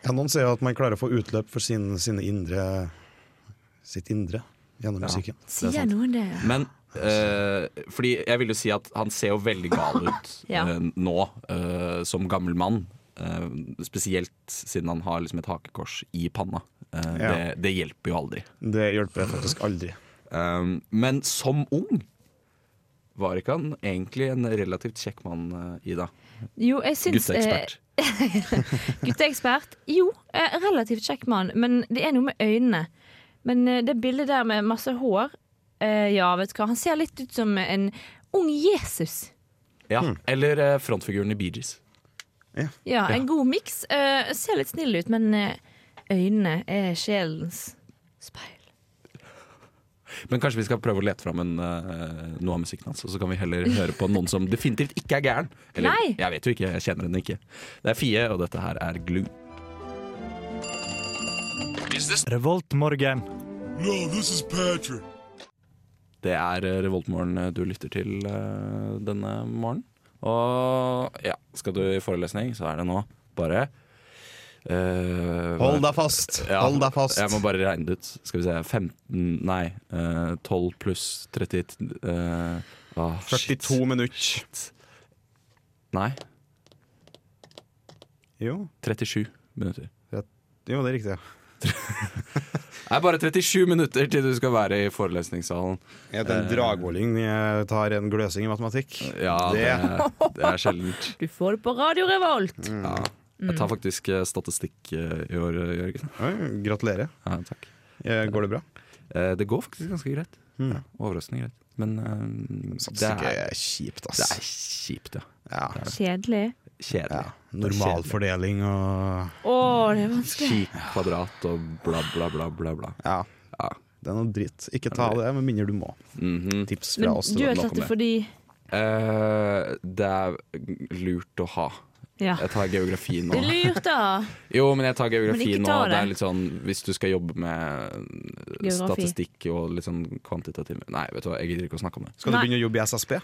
S3: Ja, noen sier jo at man klarer å få utløp for sin, sine indre sitt indre gjennom musikken.
S9: Det
S2: Sier
S9: er sant.
S2: noen det? ja?
S9: Men eh, fordi jeg vil jo si at han ser jo veldig gal ut
S2: *laughs* Ja.
S9: eh, nå, eh, som gammel mann. Eh, spesielt siden han har liksom et hakekors i panna. Eh,
S3: Ja.
S9: det, det hjelper jo aldri.
S3: Det hjelper faktisk aldri.
S9: Eh, men som ung var ikke han egentlig en relativt kjekk mann, eh, Ida.
S2: Jo, jeg syns eh,
S9: Gutteekspert.
S2: Gutteekspert? Jo, eh, relativt kjekk mann, men det er noe med øynene. Men eh, det bildet der med masse hår eh, Ja, vet du hva, han ser litt ut som en ung Jesus.
S9: ja. Eller eh, frontfiguren i Bee Gees.
S2: Ja, en god miks. Eh, ser litt snill ut, men eh, øynene er sjelens speil.
S9: Men kanskje vi skal prøve å lete fram en, eh, noe av musikken hans, og så kan vi heller høre på noen som definitivt ikke er gæren. Eller,
S2: Nei.
S9: jeg vet jo ikke, jeg kjenner henne ikke. Det er Fie, og dette her er Glue.
S1: Revoltmorgen.
S9: Det er eh, Revoltmorgen du lytter til eh, denne morgenen. Og ja, skal du i forelesning, så er det nå bare eh,
S3: *laughs* Hold deg fast!
S9: Ja,
S3: Hold deg fast!
S9: Jeg må bare regne det ut. Skal vi se 15 Nei, eh, 12 pluss 30 eh, ah, shit.
S3: 42 minutter.
S9: Nei,
S3: Jo.
S9: 37 minutter.
S3: jo, det er riktig. ja.
S9: Det er bare 37 minutter til du skal være i forelesningssalen.
S3: Jeg heter en dragvolling. Jeg tar en gløsing i matematikk.
S9: Eh. Ja, det, det er sjeldent.
S2: Du får det på Radio Revolt!
S9: Ja. Jeg tar faktisk eh, statistikk eh, i år, eh, Jørgen.
S3: Oi, gratulerer.
S9: Ja, takk.
S3: Eh, Går det bra?
S9: Eh, Det går faktisk ganske greit.
S3: Mm.
S9: Ja, Overraskende greit. Men eh, det
S3: Satser
S9: er,
S3: ikke kjipt,
S9: det
S3: ass.
S9: er kjipt, ja.
S3: Ja.
S2: Kjedelig.
S9: Kjedelig.
S3: Normalfordeling og
S2: Å, det er vanskelig.
S9: Kjip kvadrat og bla, bla, bla, bla. bla.
S3: Ja.
S9: Ja.
S3: Det er noe dritt. Ikke ta det, med mindre du må.
S9: Mhm.
S3: Tips fra
S2: Men
S3: oss.
S2: du
S3: til
S2: har
S3: dere.
S9: nok om
S2: tatt det
S9: det.
S2: fordi
S9: Eh, Det er lurt å ha.
S2: Ja.
S9: Jeg tar geografi nå.
S2: Det er lurt,
S9: *laughs*
S2: da.
S9: Jo, men jeg tar
S2: Men
S9: geografi
S2: ikke
S9: nå.
S2: ta
S9: Det er
S2: det.
S9: litt sånn, Hvis du skal jobbe med
S2: Geografi.
S9: statistikk og litt sånn kvantitativ Nei, vet du hva, jeg gidder ikke å snakke om det.
S3: Skal du
S2: Nei.
S3: begynne å jobbe i SSB?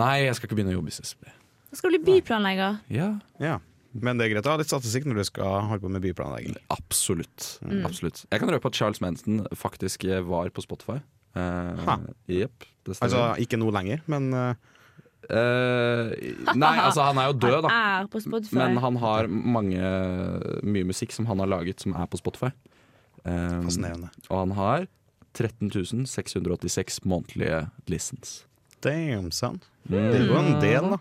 S9: Nei, jeg skal ikke begynne å jobbe i SSB.
S2: Nå skal du bli byplanlegger.
S9: Ja,
S3: Ja. Men det er greit å ha litt statistikk når du skal holde på med byplanlegging.
S9: absolutt. absolutt. Jeg kan røpe at Charles Manson faktisk var på Spotify. Eh,
S3: Ha.
S9: Jepp. det stemmer.
S3: Altså ikke nå lenger, men eh,
S9: Eh, nei, altså han er jo død, da.
S2: Er på Spotify.
S9: Men han har mange, mye musikk som han har laget, som er på Spotify. Eh,
S3: fascinerende.
S9: og han har 13 686 månedlige listens.
S3: Damn, son. Det er jo en del, da.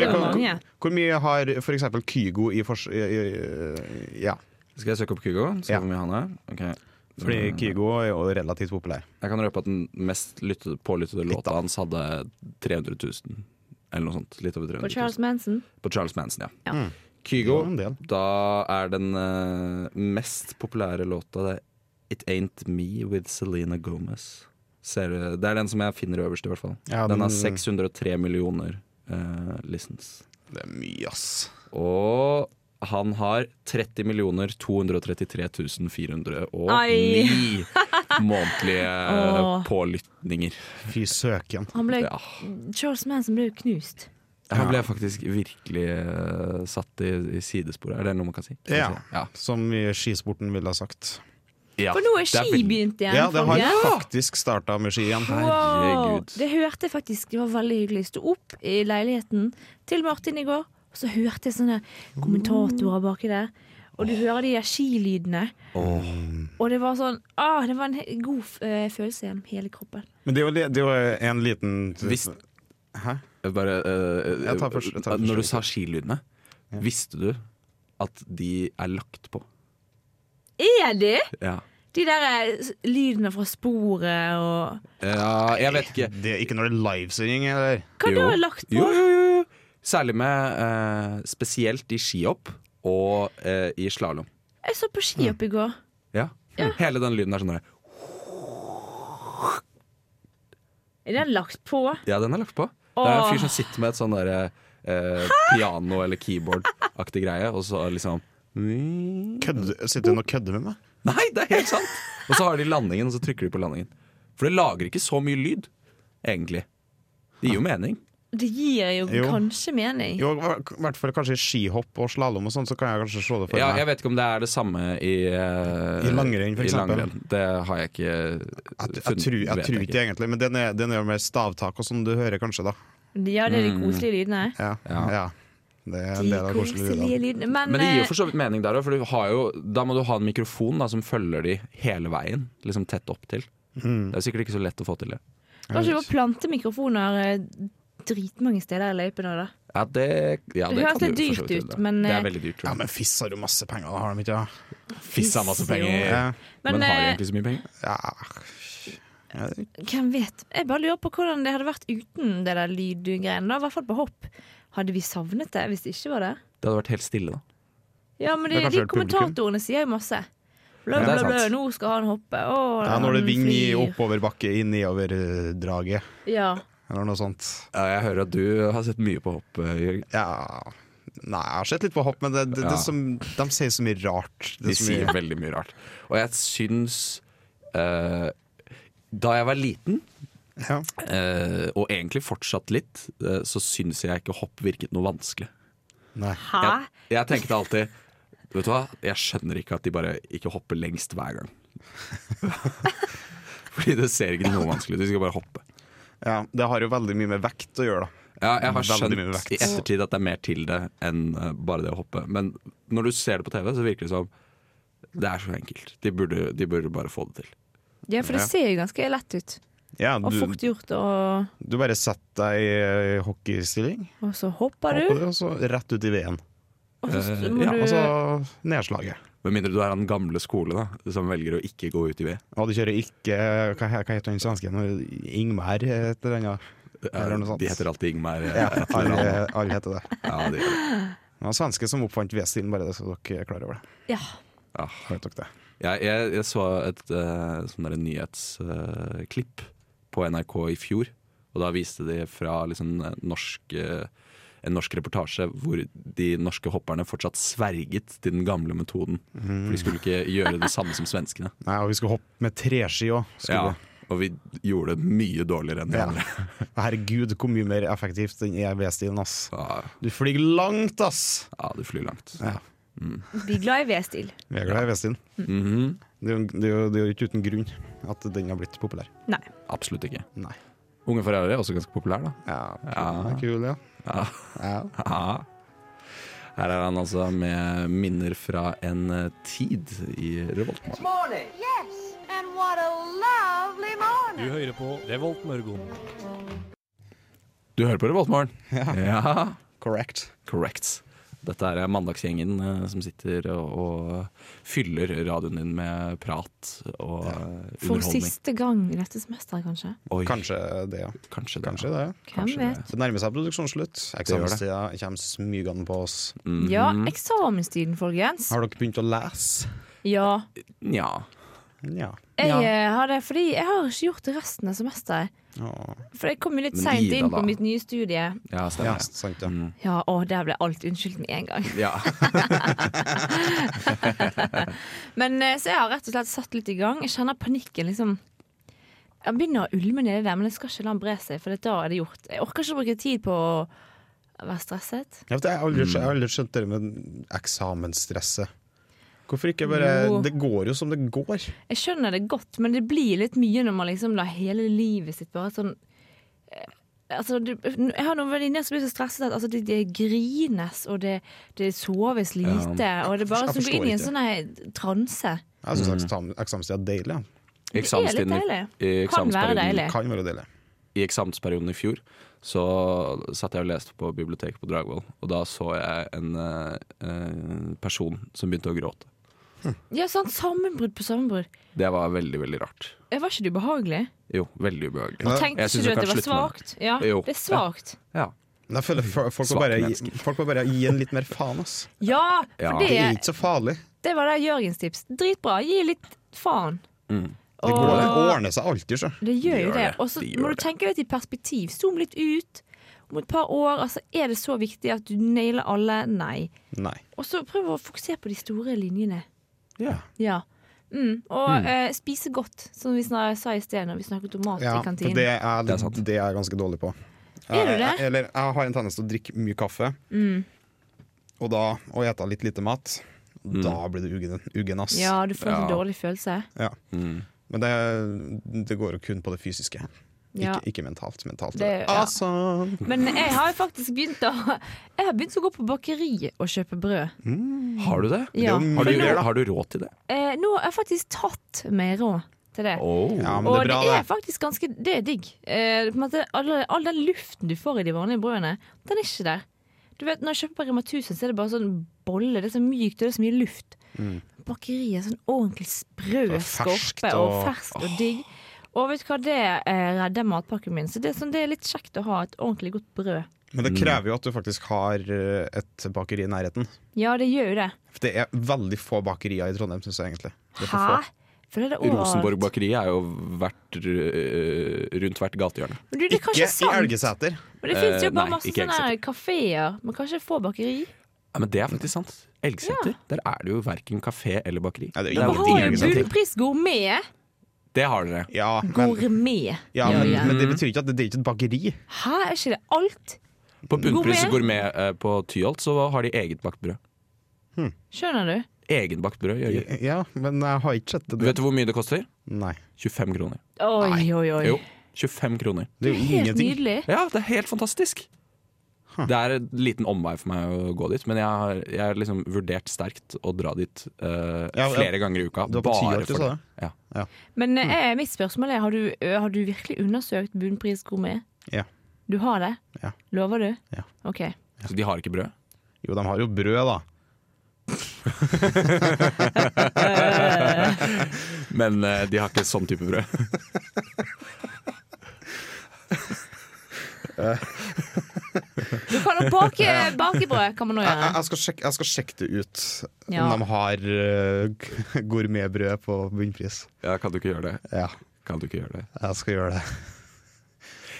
S2: Mm. det er
S3: hvor,
S2: mange.
S3: hvor, hvor mye har f.eks. Kygo i fors... i- i- Ja.
S9: Skal jeg søke opp Kygo? Se
S3: Ja.
S9: hvor mye han er? Ok.
S3: Fordi
S9: Mm.
S3: Kygo er jo relativt populær.
S9: Jeg kan røpe at den mest lyttede, pålyttede
S3: da.
S9: låta hans hadde 300 000. Eller noe sånt. Litt over
S2: På
S9: 300
S2: Charles
S9: 000.
S2: Manson.
S9: På Charles Manson,
S2: Ja.
S9: ja.
S3: Mm.
S9: Kygo,
S3: Det var en del.
S9: da er den eh, mest populære låta det er It Ain't Me with Selena Gomez. Ser du? Det er den som jeg finner øverst, i hvert fall.
S3: Ja,
S9: den
S3: den-
S9: har 603 millioner eh, listens.
S3: Det er mye, ass.
S9: Og han har 30 233 409
S2: Ai.
S9: månedlige
S2: *laughs*
S9: eh,
S2: Åh.
S9: pålytninger.
S3: Fy søken.
S2: Han ble,
S9: Ja.
S2: Charles Manson ble jo knust.
S9: Han ble faktisk virkelig eh, satt i, i sidesporet. Er det noe man kan si? Kan
S3: Ja.
S9: man si? ja.
S3: Som i skisporten ville ha sagt.
S9: Ja,
S2: For nå er
S9: det
S2: ski
S9: veldig-
S2: begynt igjen,
S3: Ja, det har
S2: folkens.
S3: faktisk starta med ski igjen.
S2: Wow,
S9: Herregud.
S2: det hørte jeg faktisk. Det var veldig hyggelig. Stå opp i leiligheten til Martin i går, og så hørte jeg sånne kommentatorer baki der. Og du hører de der skilydene. Og det var sånn ah, Det var en he- god f- eh, følelse gjennom hele kroppen.
S3: Men det er jo, li- det er jo en liten
S9: Hvis-
S3: Hæ?
S9: Jeg Bare, eh,
S3: Jeg tar først- jeg tar først.
S9: når du sa skilydene, visste du at de er lagt på?
S2: Er de?
S9: Ja.
S2: De der eh, s- lydene fra sporet og
S9: Eh, ja jeg vet ikke.
S3: Det er ikke når det er livesending, eller?
S2: Hva da
S9: Jo.
S2: er lagt på?
S9: Jo, jo, jo, jo. Særlig med eh, spesielt i skihopp og eh, i slalåm.
S2: Jeg så på skihopp i går.
S9: Ja. Hele den lyden er sånn der
S2: Er den lagt på?
S9: Ja, den er lagt på. Det er en
S2: Åh.
S9: fyr som sitter med et sånn derre eh, piano- eller keyboard-aktig greie, og så liksom
S3: Sitter hun og kødder med meg?
S9: Nei, det er helt sant! Og så har de landingen, og så trykker de på landingen. For det lager ikke så mye lyd, egentlig. Det gir jo mening.
S2: Det gir jo,
S3: Jo.
S2: kanskje mening.
S3: Jo, I hvert fall kanskje i skihopp og slalåm og sånn, så kan jeg kanskje se det for
S9: Ja,
S3: meg.
S9: jeg vet ikke om det er det samme i eh,
S3: I langrenn, for
S9: i
S3: eksempel.
S9: langrenn. Det har jeg ikke
S3: Jeg, jeg, tror, jeg tror ikke egentlig, men den er, den er jo mer stavtak og sånn du hører kanskje, da.
S2: Ja, det er de
S9: Mm.
S2: koselige lydene.
S3: Ja, ja.
S9: Ja.
S3: Det er en
S2: De
S3: del av koselige
S2: koselige
S3: lydene.
S2: lydene. Men,
S9: Men det gir jo
S2: eh,
S9: for så vidt mening der òg, for du har jo, da må du ha en mikrofon da, som følger de hele veien. Liksom tett opp til.
S3: Mm.
S9: Det er sikkert ikke så lett å få til det.
S2: kanskje du må plante mikrofoner eh, dritmange steder i løypene da.
S9: Ja, det, ja,
S2: Det
S9: det,
S2: høres
S9: kan
S2: litt
S9: du jo for så
S2: dyrt
S9: vidt
S2: ut,
S9: gjøre.
S2: men,
S9: Det
S2: eh,
S9: er veldig dyrt.
S3: Ja,
S9: tror jeg.
S3: men fiss har du masse penger, da har de ikke det?
S9: Fissa masse penger.
S3: Ja.
S2: Men,
S9: Men har de
S2: eh,
S9: egentlig så mye penger?
S3: Ja. Ja, det-
S2: Hvem vet? Jeg bare lurer på hvordan det hadde vært uten det der lydgreiene. da, I hvert fall på hopp. Hadde vi savnet det hvis det ikke var det?
S9: Det hadde vært helt stille, da.
S2: Ja, men de,
S3: Det er kanskje
S2: de
S3: et publikum.
S2: kommentatorene sier jo masse. Blø,
S9: Ja, det
S2: blø,
S9: er
S2: blø,
S9: sant.
S2: nå skal han hoppe. Å,
S3: Ja, når det er
S2: han
S3: vind i
S2: flyr.
S3: oppoverbakke i nedoverdraget,
S2: Ja.
S3: eller noe sånt.
S9: Ja, jeg hører at du har sett mye på hopp, eh, Jørgen.
S3: Ja Nei, jeg har sett litt på hopp, men det, det,
S9: Ja.
S3: det som, de sier så mye rart. Det
S9: De
S3: er så mye-
S9: sier veldig mye rart. Og jeg syns eh, Da jeg var liten,
S3: ja.
S9: eh, og egentlig fortsatt litt, eh, så syns jeg ikke hopp virket noe vanskelig.
S3: Nei.
S2: Hæ?
S9: Jeg, jeg tenkte alltid Vet du hva, jeg skjønner ikke at de bare ikke hopper lengst hver gang. *laughs* Fordi det ser ikke noe vanskelig ut, de skal bare hoppe.
S3: Ja, det har jo veldig mye med vekt å gjøre, da.
S9: Ja, jeg har
S3: Veldig mye
S9: skjønt
S3: vekt.
S9: i ettertid at det er mer til det enn eh, bare det å hoppe. Men når du ser det på TV, så virker det som det er så enkelt. De burde, de burde bare få det til.
S2: ja, for det
S3: Ja.
S2: ser jo ganske lett ut.
S3: Ja,
S2: Og
S3: du,
S2: fort gjort. Og,
S3: du bare setter deg i eh, hockeystilling,
S2: og så hopper
S3: hopper
S2: du,
S3: det, og så rett ut i veden.
S2: og så
S9: Eh,
S2: må
S9: ja,
S2: du
S3: Og så nedslaget.
S9: Med mindre du er av den gamle skole da, som velger å ikke gå ut i ved.
S3: Og du kjører ikke Hva, he- hva heter den svensken? Ingmar, et eller annet. Eller noe sånt.
S9: De heter alltid Ingmar. eh,
S3: Ja,
S9: et eller
S3: alle,
S9: annet.
S3: alle heter det.
S9: *laughs* Ja, de gjør det.
S3: Det var svensker som oppfant V-stilen, bare det så dere er klar over det.
S2: Ja.
S9: Ja.
S3: Vet dere det.
S9: Jeg, jeg, jeg så et eh, sånn der nyhetsklipp eh, på NRK i fjor. Og da viste de fra liksom, en norsk, eh, en norsk reportasje hvor de norske hopperne fortsatt sverget til den gamle metoden. For de skulle
S3: Mm.
S9: ikke gjøre det samme som
S3: *laughs*
S9: svenskene.
S3: Nei, og vi skulle hoppe med treski òg.
S9: Ja, og vi gjorde det mye dårligere enn de
S3: Ja.
S9: andre.
S3: Herregud, hvor mye mer effektivt den er V-stilen, ass.
S9: Ja,
S3: Du flyr langt, ass!
S9: ja, du flyr langt.
S3: Ja.
S2: bli glad i V-stil.
S3: Vi er glad i V-stilen.
S9: Mhm,
S3: Det er jo- det er jo det er jo ikke uten grunn at den har blitt populær.
S2: Nei.
S9: Absolutt ikke.
S3: Nei.
S9: Unge Ferrari er også ganske populær, da.
S3: Ja, kul,
S9: Ja.
S3: ja. kul ja.
S9: Ja.
S3: ja.
S9: Ja. Her er han altså med minner fra en eh, tid i Revoltmorgen.
S6: Morning!
S5: Yes, and what a lovely
S7: Du
S5: morning.
S7: hører på Revolt Mørgom.
S9: Du hører på Revoltmorgen? *laughs* Ja. ja.
S3: Correct.
S9: Correct. Dette er mandagsgjengen eh, som sitter og, og fyller radioen din med prat og eh,
S2: For
S9: underholdning.
S2: siste gang i dette semesteret, kanskje.
S9: Oi,
S3: Kanskje det, ja.
S9: kanskje det.
S3: Kanskje det. ja.
S2: Hvem
S9: Kanskje
S2: vet?
S9: det.
S3: Det nærmer seg produksjonsslutt.
S9: gjør det.
S3: Eksamenstida kommer smygende på oss.
S9: Mhm.
S2: Ja, eksamenstiden, folkens.
S3: Har dere begynt å lese?
S2: Ja.
S9: Nja.
S3: Ja.
S2: Jeg
S9: Ja.
S2: eh, har det fordi jeg har ikke gjort det resten av semesteret.
S3: Å,
S2: For jeg kom jo litt
S9: Men
S2: seint
S9: Ida,
S2: inn
S9: da.
S2: på mitt nye studie.
S9: Ja,
S3: ja,
S9: stemmer. Mm.
S3: sant, ja.
S2: Ja, å, der ble alt unnskyldt med en gang. *laughs*
S9: Ja.
S2: Men eh, så jeg har rett og slett satt litt i gang. Jeg kjenner panikken liksom Jeg begynner å ulme nedi der, men jeg skal ikke la den bre seg, for da er det gjort. Jeg orker ikke å bruke tid på å være stresset.
S3: Jeg vet det, jeg har aldri, skjønt- jeg har aldri skjønt det med eksamensstresset. Hvorfor ikke bare
S2: Jo.
S3: Det går jo som det går.
S2: Jeg skjønner det godt, men det blir litt mye når man liksom lar hele livet sitt bare sånn eh, Altså, du, jeg har noen venninner som blir så stresset at altså, det, det grines, og det, det soves lite. Og det er bare
S3: Jeg
S2: som å gå inn i en
S3: forstår
S2: sånn her transe.
S3: Jeg syns eksamen, eksamenstida er deilig. Ja.
S2: Det er litt
S9: Eksamenstiden i-
S2: deilig. Kan være
S9: i eh, eksamensperioden-
S2: deilig.
S3: Kan være deilig.
S9: i eksamensperioden i fjor så satt jeg og leste på biblioteket på Dragvoll, og da så jeg en eh, eh, person som begynte å gråte.
S2: Ja, sånn sammenbrudd på sammenbrudd.
S9: Det var veldig, veldig rart.
S2: Eh, Var ikke det ubehagelig?
S9: Jo, veldig ubehagelig.
S3: Ja.
S2: Tenkte
S9: Jeg synes
S2: ikke du
S9: vi
S2: at
S9: kan
S2: det var
S9: slutte med det.
S2: svakt? Ja,
S9: Jo.
S2: det er svakt.
S9: Ja.
S3: Men jeg føler fo- folk må
S9: Svake
S3: bare, gi-
S9: mennesker.
S3: folk må bare gi en litt mer faen, ass.
S2: Ja,
S9: Ja.
S2: for
S3: Det
S2: det
S3: er
S2: er,
S3: ikke så farlig.
S2: Det var det Jørgens tips. Dritbra. Gi litt faen.
S3: Det, går, det ordner seg alltid, sjø.
S2: Det gjør jo
S3: Gjør
S2: det.
S3: det.
S2: Og så
S3: Det gjør
S2: må du
S3: det.
S2: tenke litt i perspektiv. Zoom litt ut. Om et par år altså, er det så viktig at du nailer alle? Nei.
S3: Nei.
S2: Og så prøv å fokusere på de store linjene.
S3: Ja.
S2: Mm. Og
S3: Mm.
S2: eh, spise godt, som vi snak- sa i sted når vi snakket om mat
S3: Ja,
S2: i
S3: for
S2: kantinen.
S3: det er, det, er jeg ganske dårlig på.
S2: Er du
S3: Jeg-
S2: det?
S3: Eller jeg har en tendens til å drikke mye kaffe,
S2: Mm.
S3: og da å ete litt lite mat. Da blir det uggen, uggen ass.
S2: Ja, du får en dårlig følelse.
S3: Ja. Men det, det går jo kun på det fysiske.
S2: Ja.
S3: Ikke, ikke mentalt. Mentalt
S2: Det-
S3: er det Altså,
S2: ja.
S3: awesome!
S2: Men jeg har jo faktisk begynt å *laughs* Jeg har begynt å gå på bakeri og kjøpe brød.
S9: Har du det?
S3: Mm.
S2: Ja.
S9: Har,
S2: Men
S9: du,
S2: nå-
S9: har du råd til det?
S2: Eh, nå har jeg faktisk tatt meg råd til det.
S9: Oh.
S3: Ja, men
S2: og
S3: det er bra,
S2: det er
S3: det.
S2: faktisk ganske Det er digg. Eh, på en måte, all, all den luften du får i de vanlige brødene, den er ikke der. Du vet, Når jeg kjøper på Rema 1000, så er det bare sånn bolle. Det er så mykt, og det er så mye luft.
S3: Mm.
S2: Bakeriet er sånn ordentlig sprø
S3: Det er ferskt
S2: skorpe og
S3: og-
S2: ferskt og digg. Og vet du hva, det eh, redder matpakken min. Så det er, sånn, det er litt kjekt å ha et ordentlig godt brød.
S3: Men det krever jo at du faktisk har eh, et bakeri i nærheten.
S2: Ja, det gjør jo det.
S3: For det er veldig få bakerier i Trondheim, syns jeg egentlig. Det er for
S2: Hæ?
S3: få.
S2: For det er det overalt.
S9: Rosenborg bakeri er jo hvert, øh, rundt hvert gatehjørne.
S2: Men du, det er kanskje
S3: Ikke i
S2: sant.
S3: Elgeseter.
S2: Men det fins jo
S9: Eh,
S2: bare
S9: nei,
S2: masse
S9: ikke
S2: sånne kafeer, men kanskje få bakeri.
S9: Ja, men det er faktisk sant. Elgseter, der er det jo verken kafé eller bakeri.
S3: det er
S9: Der
S3: jo liksom.
S2: Vi
S9: er
S2: har jo
S9: ingenting.
S2: bunnpris gourmet.
S9: Det har dere.
S3: Ja, men,
S2: Gourmet.
S3: ja,
S2: Ja,
S3: men,
S2: ja.
S3: men det betyr ikke at det, det er ikke et bakeri.
S2: Hæ, er ikke det alt?
S3: Mm.
S9: På Bunnpris
S2: Gourmet?
S9: Gourmet eh, på Tyholt så har de eget bakt brød.
S2: Skjønner du?
S9: Egenbakt brød, Jørgen.
S3: Ja, men jeg har ikke sett det.
S9: Vet du hvor mye det koster?
S3: Nei.
S9: 25 kroner.
S2: Oi, oi, oi.
S9: Jo, 25 kroner.
S3: Det er jo
S2: Helt
S3: ingenting.
S2: nydelig.
S9: Ja, det er helt fantastisk. Det er en liten omvei for meg å gå dit, men jeg har, jeg har liksom vurdert sterkt å dra dit eh,
S3: Ja, ja.
S9: flere ganger i uka.
S3: Du var på
S9: bare
S3: Tyholt, du
S9: for
S3: sa
S9: det. Ja.
S2: Men
S3: Mm.
S2: eh, mitt spørsmål er, har du, ø, har du virkelig undersøkt bunnpris gourmet?
S3: Ja.
S2: Du har det?
S3: Ja.
S2: Lover du?
S3: Ja.
S2: OK.
S9: Så de har ikke brød?
S3: Jo, de har jo brød, da.
S9: Men eh, de har ikke sånn type brød.
S2: Du kan jo
S3: *laughs*
S2: bake eh, bakebrød, kan man nå
S3: Jeg,
S2: gjøre.
S3: jeg, skal, sjekke, jeg skal sjekke det ut,
S2: Ja.
S3: om de har eh, *laughs* gourmetbrød på bunnpris.
S9: *laughs* Ja, kan du ikke gjøre det?
S3: Ja,
S9: Kan du ikke gjøre det?
S3: jeg skal gjøre det.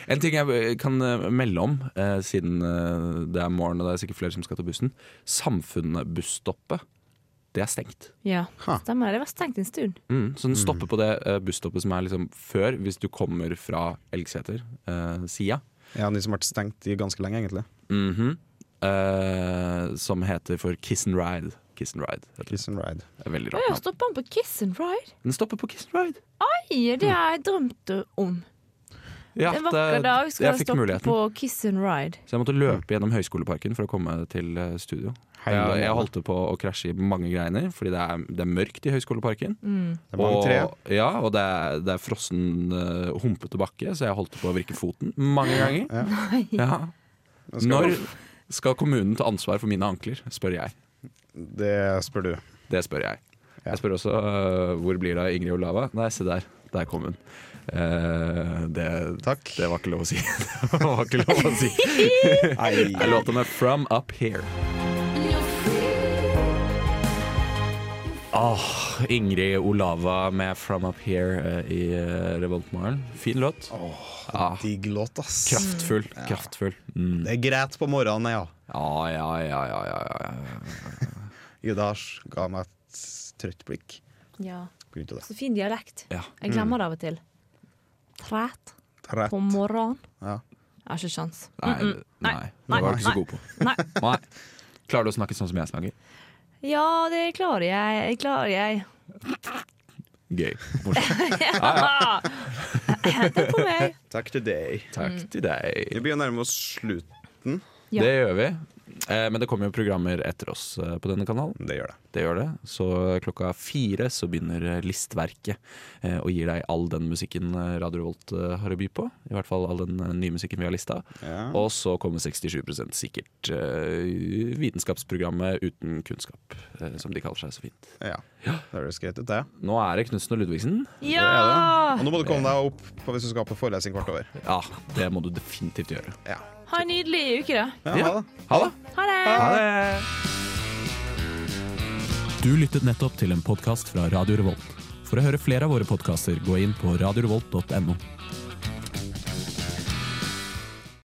S9: En ting jeg kan eh, melde om, eh, siden eh, det er morgen og det er sikkert flere som skal ta bussen. Samfunnet-busstoppet, det er stengt.
S2: Ja,
S3: Ha.
S2: stemmer. Det var stengt en stund.
S9: Mm, så den stopper på det eh, busstoppet som er liksom før, hvis du kommer fra eh, Elgseter-sida.
S3: Ja, De som har vært stengt i ganske lenge, egentlig.
S9: Mhm. Eh, som heter for Kiss and Ride. Kiss and Ride heter det.
S3: Kiss and ride.
S9: Det er veldig
S2: Å
S9: rart
S2: ja,
S9: navn.
S2: stoppa han på Kiss and Ride?
S9: Den stopper på Kiss and Ride.
S2: Nei, det har jeg drømt om.
S9: Ja,
S2: En vakker
S9: det-
S2: dag skal
S9: jeg
S2: jeg
S9: fikk
S2: stoppe
S9: muligheten.
S2: på Kiss and Ride.
S9: Så jeg måtte løpe gjennom Høgskoleparken for å komme til eh, studio. Jeg, jeg holdt på å krasje i mange greiner, fordi det er, det er mørkt i Høgskoleparken.
S3: Det er mange tre.
S9: Og, ja, og det er, det er frossen, eh, humpete bakke, så jeg holdt på å vrikke foten mange ganger. Ja. Når skal kommunen ta ansvar for mine ankler, spør jeg.
S3: Det spør du.
S9: Det spør jeg.
S3: Ja.
S9: Jeg spør også øh, hvor blir det av Ingrid Olava? Nei, se der. Der kom hun. Eh, det,
S3: Takk.
S9: det var ikke lov å si. *laughs* Det var ikke lov å
S3: *laughs*
S9: si. Jeg låta med 'From Up Here'. Åh, Ah, Ingrid Olava med 'From Up Here' eh, i eh, Revoltmorgen. Fin låt. ja,
S3: Digg låt, ass.
S9: kraftfull. Kraftfull. Mm.
S3: Det er greit på morgenen, ja.
S9: Ja, ja, ja, ja, ja, ja.
S3: Idars ga meg et trøtt blikk
S2: Ja.
S3: på grunn av det.
S2: Så fin dialekt.
S9: ja.
S2: Jeg glemmer det av og til. Træt
S3: Trett.
S2: på morgenen.
S3: Ja.
S2: Jeg har ikke sjans.
S9: Nei,
S2: Mm-mm.
S9: nei,
S2: Nei.
S9: det var du ikke
S2: Nei.
S9: så god på.
S2: Nei.
S9: Nei. Klarer du å snakke sånn som jeg snakker?
S2: Ja, det klarer jeg. Det klarer jeg.
S9: Gøy. Morsomt.
S2: *laughs* Hent på meg.
S3: Takk til deg.
S9: Takk til deg.
S3: Vi begynner å nærme oss slutten.
S2: Ja.
S9: Det gjør vi. Eh, Men det kommer jo programmer etter oss eh, på denne kanalen.
S3: Det gjør det.
S9: Det gjør det. Så klokka fire så begynner eh, Listverket eh, og gir deg all den musikken eh, Radio Revolt eh, har å by på. I hvert fall all den eh, nye musikken vi har lista.
S3: Ja.
S9: Og så kommer 67 sikkert eh, vitenskapsprogrammet Uten kunnskap, eh, som de kaller seg så fint.
S3: Ja. Det høres greit ut, det.
S9: Nå er det Knutsen og Ludvigsen.
S3: det, er det.
S2: Ja!
S3: Og nå må du komme deg opp på hvis du skal på forelesning kvart over.
S9: Ja, det må du definitivt gjøre.
S3: Ja.
S2: Ha en nydelig uke, da.
S3: Ja, ha det.
S9: Ha det!
S2: Ha det!
S9: det! Du lyttet nettopp til en podkast fra Radio Revolt. For å høre flere av våre podkaster, gå inn på radiorevolt.no.